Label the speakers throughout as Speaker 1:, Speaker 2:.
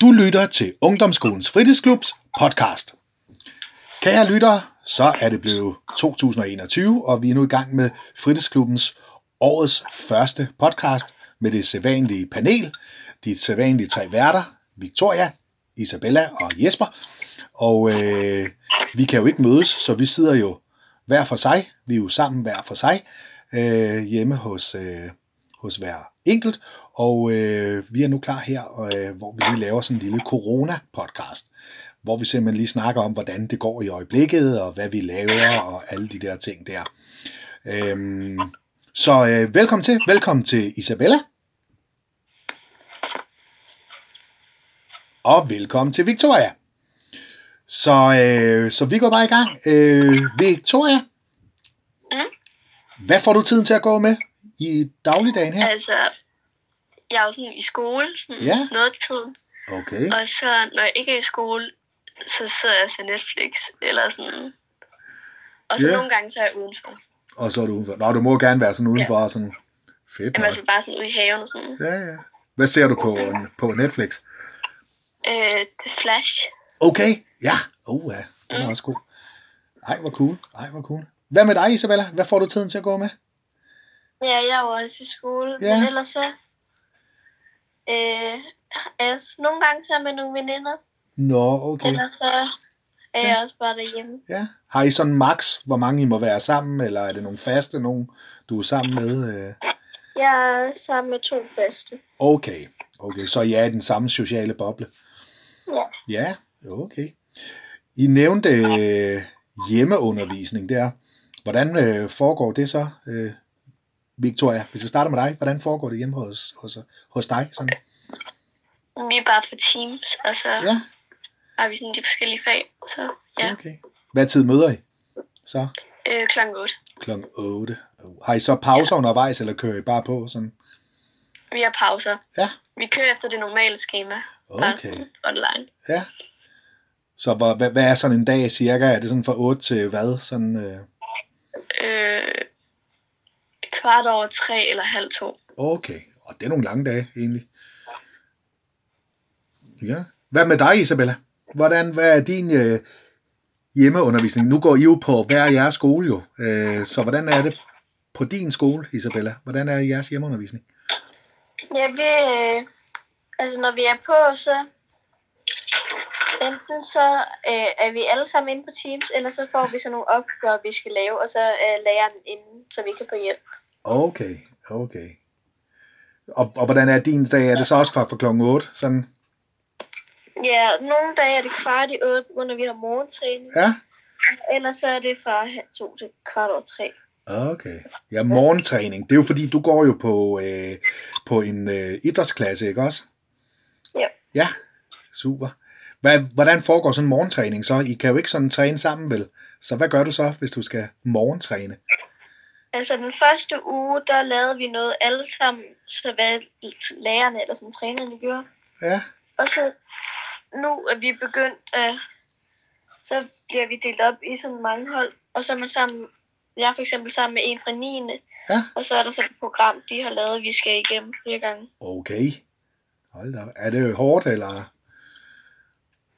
Speaker 1: Du lytter til Ungdomsskolens Fritidsklubs podcast. Kære lyttere, så er det blevet 2021, og vi er nu i gang med Fritidsklubbens årets første podcast med det sædvanlige panel. De sædvanlige tre værter, Victoria, Isabella og Jesper. Og øh, vi kan jo ikke mødes, så vi sidder jo hver for sig. Vi er jo sammen hver for sig øh, hjemme hos, øh, hos hver enkelt. Og øh, vi er nu klar her, og, øh, hvor vi lige laver sådan en lille corona-podcast, hvor vi simpelthen lige snakker om, hvordan det går i øjeblikket, og hvad vi laver, og alle de der ting der. Øhm, så øh, velkommen til. Velkommen til Isabella. Og velkommen til Victoria. Så, øh, så vi går bare i gang. Øh, Victoria, hvad får du tiden til at gå med i dagligdagen her?
Speaker 2: Altså, jeg er jo sådan i skole, sådan
Speaker 1: Ja.
Speaker 2: noget af tiden.
Speaker 1: Okay.
Speaker 2: Og så, når jeg ikke er i skole, så sidder jeg og ser Netflix, eller sådan. Og så
Speaker 1: Ja.
Speaker 2: nogle gange, så er jeg udenfor.
Speaker 1: Og så er du udenfor. Nå, du må gerne være sådan udenfor og sådan... Fedt
Speaker 2: Jamen,
Speaker 1: nok.
Speaker 2: altså bare sådan ude i haven og sådan.
Speaker 1: Ja, ja. Hvad ser du på, på Netflix?
Speaker 2: Øh, The Flash.
Speaker 1: Okay, ja. Oh, ja. Den
Speaker 2: Mm.
Speaker 1: er også god. Ej, hvor cool. Ej, hvor cool. Hvad med dig, Isabella? Hvad får du tiden til at gå med?
Speaker 2: Ja, jeg var også i skole.
Speaker 1: Ja. men
Speaker 2: ellers så... Øh, altså, nogle gange så er jeg med nogle veninder.
Speaker 1: Nå, okay.
Speaker 2: så er
Speaker 1: jeg
Speaker 2: også bare derhjemme.
Speaker 1: Ja. Har I sådan max, hvor mange I må være sammen, eller er det nogle faste, nogen du er sammen med? øh?
Speaker 2: Jeg er sammen med to bedste.
Speaker 1: Okay, okay, så I er i den samme sociale boble?
Speaker 2: Ja.
Speaker 1: Ja, okay. I nævnte øh, hjemmeundervisning der. Hvordan øh, foregår det så, øh, Victoria? Hvis vi starter med dig, hvordan foregår det hjemme hos, hos, hos dig? Sådan?
Speaker 2: Vi er bare på Teams, og så
Speaker 1: Ja,
Speaker 2: har vi sådan de forskellige fag. Så ja,
Speaker 1: okay. Hvad tid møder I? Så
Speaker 2: øh, klokken 8.
Speaker 1: klokken 8. Har I så pauser undervejs, eller kører I bare på? Sådan?
Speaker 2: Vi har pauser.
Speaker 1: Ja.
Speaker 2: Vi kører efter det normale schema. Bare
Speaker 1: Okay.
Speaker 2: sådan online.
Speaker 1: Ja. Så hvor, hvad, hvad er sådan en dag cirka? Er det sådan fra 8 til hvad? Sådan, øh,
Speaker 2: Øh, kvart over tre eller halv to.
Speaker 1: okay. Og det er nogle lange dage, egentlig. Ja. Hvad med dig, Isabella? Hvordan, hvad er din øh, hjemmeundervisning? Nu går I jo på hver jeres skole jo. Øh, så hvordan er det på din skole, Isabella? Hvordan er jeres hjemmeundervisning?
Speaker 2: Ja, vi... Øh, altså, når vi er på, så... Enten så øh, er vi alle sammen inde på Teams, eller så får vi så nogle opgaver, vi skal lave, og så er øh, læreren inde, så vi kan få hjælp.
Speaker 1: Okay, okay. Og, og hvordan er din dag? Er det så også fra, fra klokken 8? Sådan?
Speaker 2: Ja, nogle dage er det kvart i otte, når vi har morgentræning.
Speaker 1: Ja?
Speaker 2: Ellers så er det fra halv to til kvart over tre.
Speaker 1: Okay. Ja, morgentræning. Det er jo fordi, du går jo på, øh, på en øh, idrætsklasse, ikke også?
Speaker 2: Ja.
Speaker 1: Ja, super. Hvad, hvordan foregår sådan en morgentræning så? I kan jo ikke sådan træne sammen, vel? Så hvad gør du så, hvis du skal morgentræne?
Speaker 2: Altså den første uge, der lavede vi noget alle sammen, så hvad lærerne eller sådan trænerne gjorde.
Speaker 1: Ja,
Speaker 2: Og så nu er vi begyndt, øh, så bliver vi delt op i sådan mange hold, og så er man sammen, jeg er for eksempel sammen med en fra 9.
Speaker 1: Ja.
Speaker 2: Og så er der så et program, de har lavet, vi skal igennem flere gange.
Speaker 1: okay. Hold da. op. Er det hårdt, eller?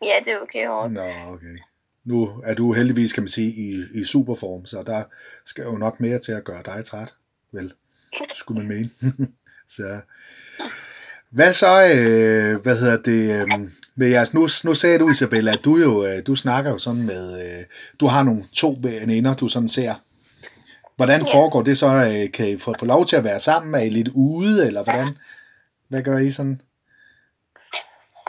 Speaker 2: Ja, det er okay hårdt.
Speaker 1: Nå, okay. Nu er du heldigvis, kan man sige, i, i superform, så der skal jo nok mere til at gøre dig træt, vel? Skulle man mene. så. Hvad så, øh, hvad hedder det, øh, med jeres, nu, nu sagde du, Isabella, at du jo, øh, du snakker jo sådan med, øh, du har nogle to veninder, du sådan ser. Hvordan
Speaker 2: Ja.
Speaker 1: foregår det så? Øh, kan I få, få lov til at være sammen? Er I lidt ude, eller hvordan? Hvad gør I sådan?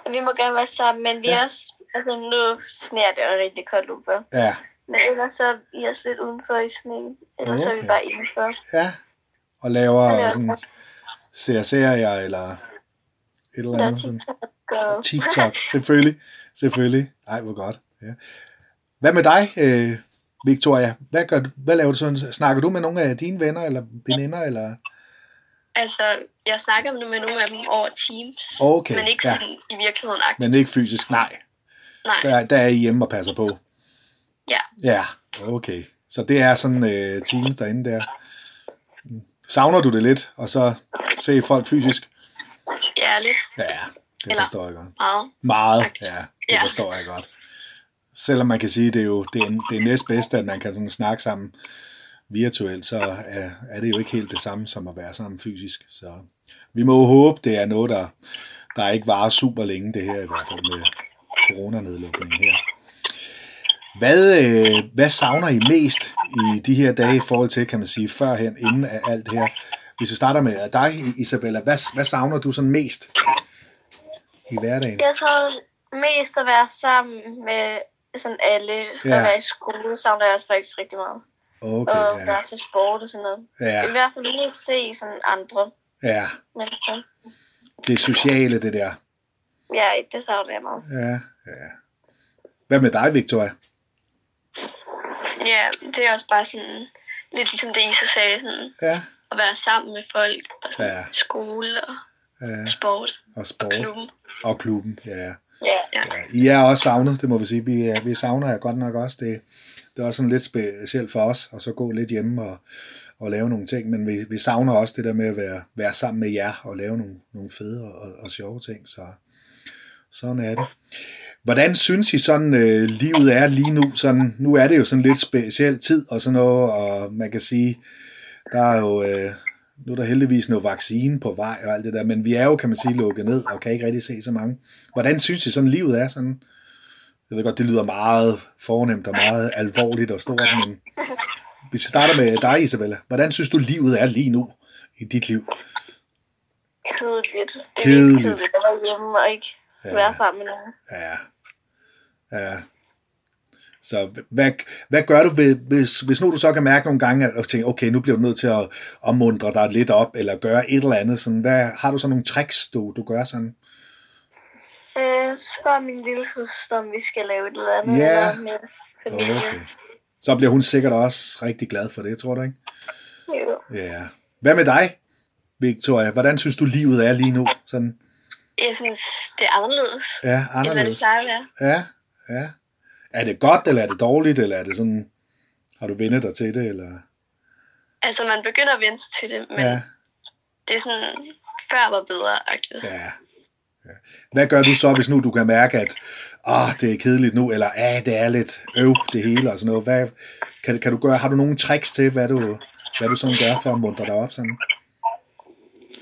Speaker 2: Vi må gerne være sammen, men vi
Speaker 1: Ja.
Speaker 2: er også, altså nu sneer det jo rigtig koldt udenfor.
Speaker 1: Ja,
Speaker 2: Men ellers så er vi også lidt udenfor i sneen. Ellers så er
Speaker 1: Okay.
Speaker 2: vi bare indenfor.
Speaker 1: Ja, og laver
Speaker 2: Ja.
Speaker 1: sådan, ser serier eller et eller
Speaker 2: Der er
Speaker 1: andet. Sådan.
Speaker 2: TikTok og...
Speaker 1: TikTok, selvfølgelig. Selvfølgelig. Ej, hvor godt. Ja. Hvad med dig, øh, Victoria? Hvad, gør du, hvad laver du sådan? Snakker du med nogle af dine venner eller veninder? Eller?
Speaker 2: Altså, jeg snakker nu med nogle af dem over Teams.
Speaker 1: Okay,
Speaker 2: men ikke
Speaker 1: ja.
Speaker 2: sådan i virkeligheden aktivt.
Speaker 1: Men ikke fysisk, nej.
Speaker 2: Nej,
Speaker 1: Der, der er I hjemme og passer på.
Speaker 2: Ja.
Speaker 1: Ja, okay. Så det er sådan øh, teams derinde der. Savner du det lidt, og så se folk fysisk?
Speaker 2: jeg er lidt.
Speaker 1: Ja, det
Speaker 2: Eller-
Speaker 1: forstår jeg godt.
Speaker 2: meget.
Speaker 1: Meget,
Speaker 2: Tak.
Speaker 1: ja, det
Speaker 2: Ja.
Speaker 1: forstår jeg godt. Selvom man kan sige, det er jo det, er, det er næstbedste, at man kan sådan snakke sammen virtuelt, så er, er det jo ikke helt det samme som at være sammen fysisk. Så vi må jo håbe, det er noget, der, der ikke varer super længe, det her i hvert fald med coronanedlukningen her. Hvad, øh, hvad savner I mest i de her dage i forhold til, kan man sige, førhen, inden af alt det her? Hvis vi starter med dig, Isabella, hvad, hvad savner du sådan mest i hverdagen?
Speaker 2: Jeg tror mest at være sammen med sådan alle.
Speaker 1: Ja.
Speaker 2: At være i skole savner jeg også faktisk rigtig meget.
Speaker 1: Okay,
Speaker 2: Okay, og
Speaker 1: ja.
Speaker 2: være til sport og sådan noget. I
Speaker 1: Ja,
Speaker 2: hvert fald lige se sådan andre
Speaker 1: ja.
Speaker 2: mennesker.
Speaker 1: Det sociale, det der.
Speaker 2: Ja, det savner jeg meget.
Speaker 1: Ja, ja. Hvad med dig, Victoria?
Speaker 3: Ja, det er også bare sådan, lidt ligesom det Isa sagde, sådan,
Speaker 1: Ja,
Speaker 3: at være sammen med folk, og sådan
Speaker 1: Ja.
Speaker 3: ja. skole og
Speaker 1: ja.
Speaker 3: sport
Speaker 1: Og
Speaker 3: og
Speaker 1: sport
Speaker 3: klubben.
Speaker 1: og klubben, ja.
Speaker 2: Ja,
Speaker 1: Ja, I er også savnet, det må vi sige. Vi, er, vi savner jer godt nok også. Det, det er også sådan lidt specielt for os, at så gå lidt hjemme og, og lave nogle ting. Men vi, vi savner også det der med at være, være sammen med jer og lave nogle, nogle fede og, og, og sjove ting. Så sådan er det. Hvordan synes I sådan, øh, livet er lige nu? Sådan, nu er det jo sådan lidt speciel tid og sådan noget, og man kan sige, der er jo... Øh, nu er der heldigvis noget vaccine på vej og alt det der, men vi er jo, kan man sige, lukket ned og kan ikke rigtig se så mange. Hvordan synes I sådan, livet er sådan? Jeg ved godt, det lyder meget fornemt og meget alvorligt og stort, men hvis vi starter med dig, Isabella. Hvordan synes du, livet er lige nu i dit liv?
Speaker 2: kedeligt. Det
Speaker 1: Kedeligt.
Speaker 2: er kedeligt. kedeligt at være hjemme og ikke ja. være sammen med nogen.
Speaker 1: ja, ja. Så hvad, hvad gør du, ved, hvis, hvis nu du så kan mærke nogle gange, at og tænke, okay, nu bliver du nødt til at, at mundre dig lidt op, eller gøre et eller andet. Sådan, hvad, har du så nogle tricks, du, du gør sådan?
Speaker 2: Øh, spørg min lille søster, om vi skal lave et eller andet.
Speaker 1: Ja.
Speaker 2: Eller med familie.
Speaker 1: Okay. Så bliver hun sikkert også rigtig glad for det, tror du ikke?
Speaker 2: Jo.
Speaker 1: Ja. Hvad med dig, Victoria? Hvordan synes du, livet er lige nu? Sådan,
Speaker 3: Jeg synes, det er anderledes,
Speaker 1: ja,
Speaker 3: end hvad det
Speaker 1: anderledes.
Speaker 3: plejer at være.
Speaker 1: Ja, ja. Er det godt, eller er det dårligt, eller er det sådan, har du vendet dig til det, eller?
Speaker 3: Altså, man begynder at vende sig til det, men ja.
Speaker 1: Ja,
Speaker 3: det er sådan, før var bedre. Ja.
Speaker 1: ja. ja. Hvad gør du så, hvis nu du kan mærke, at oh, det er kedeligt nu, eller ah, det er lidt øv, det hele og sådan noget. Hvad, kan, kan du gøre, har du nogle tricks til, hvad du, hvad du sådan gør for at muntre dig op sådan?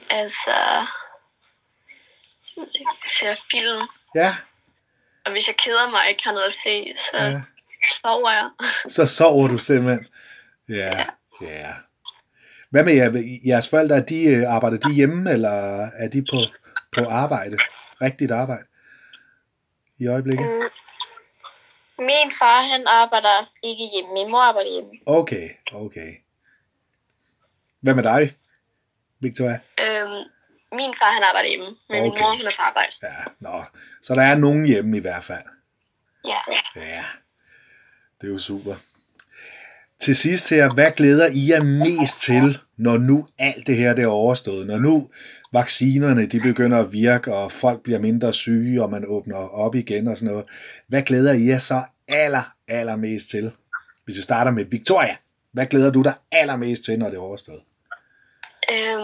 Speaker 3: Altså, jeg ser film,
Speaker 1: Ja,
Speaker 3: og hvis jeg keder mig og ikke har noget at se, så
Speaker 1: ja.
Speaker 3: ja. sover jeg.
Speaker 1: Så sover du simpelthen. Ja, ja. Hvad med jer, jeres forældre? Er de, øh, arbejder de hjemme, eller er de på, på arbejde? Rigtigt arbejde? I øjeblikket?
Speaker 2: Mm. Min far, han arbejder ikke hjemme. Min mor arbejder hjemme.
Speaker 1: Okay, okay. Hvad med dig, Victoria?
Speaker 3: Øhm, min far, han arbejder hjemme, men okay. min
Speaker 1: Ah, Okay.
Speaker 3: mor, hun er på arbejde.
Speaker 1: Ja, nå. Så der er nogen hjemme i hvert fald.
Speaker 3: Ja.
Speaker 1: Ja, det er jo super. Til sidst her, hvad glæder I jer mest til, når nu alt det her det er overstået? Når nu vaccinerne de begynder at virke, og folk bliver mindre syge, og man åbner op igen og sådan noget. Hvad glæder I jer så aller, allermest til? Hvis vi starter med Victoria, hvad glæder du dig allermest til, når det er overstået?
Speaker 3: Øhm,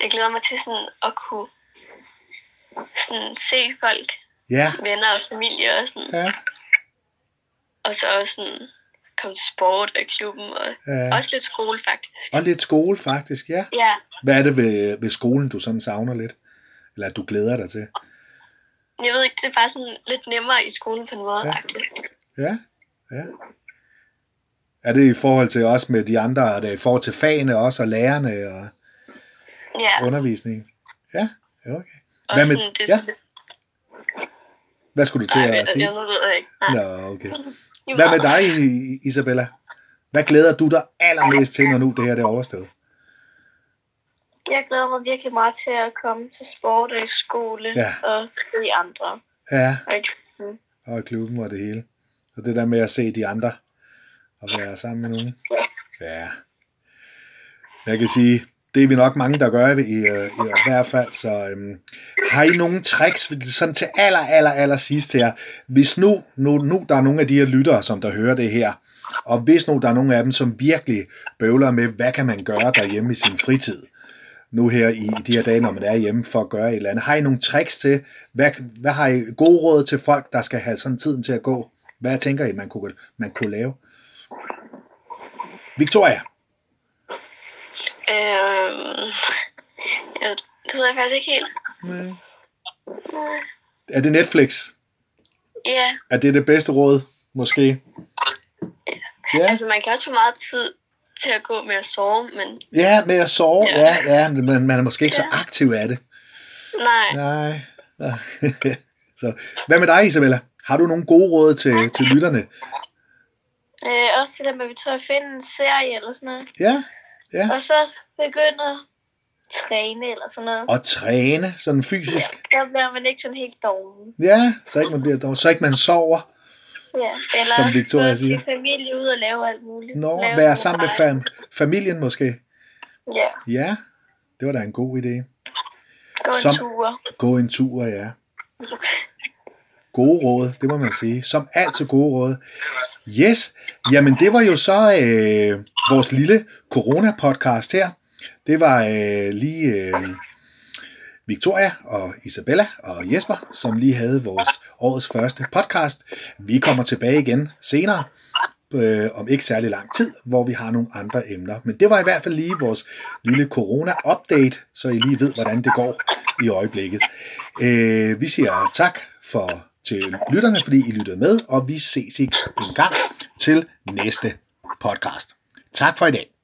Speaker 3: jeg glæder mig til sådan at kunne sådan se folk,
Speaker 1: Ja,
Speaker 3: venner og familie og sådan.
Speaker 1: ja,
Speaker 3: Og så også sådan komme til sport og i klubben og
Speaker 1: ja.
Speaker 3: også lidt skole faktisk.
Speaker 1: Og lidt skole faktisk, ja.
Speaker 3: Ja,
Speaker 1: Hvad er det ved, ved skolen, du sådan savner lidt? Eller at du glæder dig til?
Speaker 3: jeg ved ikke, det er bare sådan lidt nemmere i skolen på en måde.
Speaker 1: Ja.
Speaker 3: Ja.
Speaker 1: Ja, ja. Er det i forhold til også med de andre, er det i forhold til fagene også, og lærerne og
Speaker 3: ja.
Speaker 1: undervisningen? Ja, ja, okay.
Speaker 3: Og
Speaker 1: Hvad med-
Speaker 3: sådan, det er
Speaker 1: ja,
Speaker 3: sådan lidt-
Speaker 1: Hvad skulle du til
Speaker 3: nej,
Speaker 1: at
Speaker 3: jeg,
Speaker 1: sige?
Speaker 3: jeg, nu ved jeg ikke. Nej,
Speaker 1: Nå, okay. Hvad med dig, I- Isabella? Hvad glæder du dig allermest til, når nu det her det er overstået?
Speaker 2: Jeg glæder mig virkelig meget til at komme til sport og i skole
Speaker 1: Ja.
Speaker 2: og se andre.
Speaker 1: Ja,
Speaker 2: Og ikke
Speaker 1: og i klubben og det hele. Og det der med at se de andre og være sammen med nogen. Ja. Jeg kan sige, det er vi nok mange, der gør i, i, i hvert fald. Så øhm, har I nogle tricks sådan til aller, aller, aller sidst her? Hvis nu, nu, nu der er nogle af de her lyttere, som der hører det her, og hvis nu der er nogle af dem, som virkelig bøvler med, hvad kan man gøre derhjemme i sin fritid? nu her i, i de her dage, når man er hjemme for at gøre et eller andet. Har I nogle tricks til, hvad, hvad har I gode råd til folk, der skal have sådan tiden til at gå? Hvad tænker I, man kunne, man kunne lave? Victoria,
Speaker 3: Øhm, jeg, det ved jeg faktisk ikke helt. Nej.
Speaker 1: er det Netflix?
Speaker 3: Ja,
Speaker 1: Er det det bedste råd, måske? Ja,
Speaker 3: altså man kan også få meget tid til at gå med at sove, men
Speaker 1: ja med at sove. Ja, ja men man, man er måske ikke så aktiv af det.
Speaker 3: nej.
Speaker 1: Nej. Nej. så, hvad med dig, Isabella? Har du nogle gode råd til, til lytterne?
Speaker 2: Øh, også det der med, at vi tror at finde en serie eller sådan noget.
Speaker 1: Ja,
Speaker 2: Og så begynde at træne eller sådan noget.
Speaker 1: og træne sådan fysisk.
Speaker 2: Så bliver man ikke sådan helt doven.
Speaker 1: Ja, så ikke man bliver dog, så ikke man sover.
Speaker 2: Ja. Eller
Speaker 1: Som Victoria
Speaker 2: gå til
Speaker 1: siger.
Speaker 2: familie ud og lave alt muligt.
Speaker 1: Nå, være
Speaker 2: lave noget
Speaker 1: sammen med
Speaker 2: rejse.
Speaker 1: fam- familien måske.
Speaker 2: Ja,
Speaker 1: Ja, det var da en god idé.
Speaker 2: gå en
Speaker 1: Som-
Speaker 2: tur.
Speaker 1: Gå en tur, ja. Gode råd, det må man sige. Som altid gode råd. Yes, jamen det var jo så øh, vores lille corona-podcast her. Det var øh, lige øh, Victoria og Isabella og Jesper, som lige havde vores årets første podcast. Vi kommer tilbage igen senere, øh, om ikke særlig lang tid, hvor vi har nogle andre emner. Men det var i hvert fald lige vores lille corona-update, så I lige ved, hvordan det går i øjeblikket. Øh, vi siger tak for til lytterne, fordi I lyttede med, og vi ses ikke en gang til næste podcast. Tak for i dag.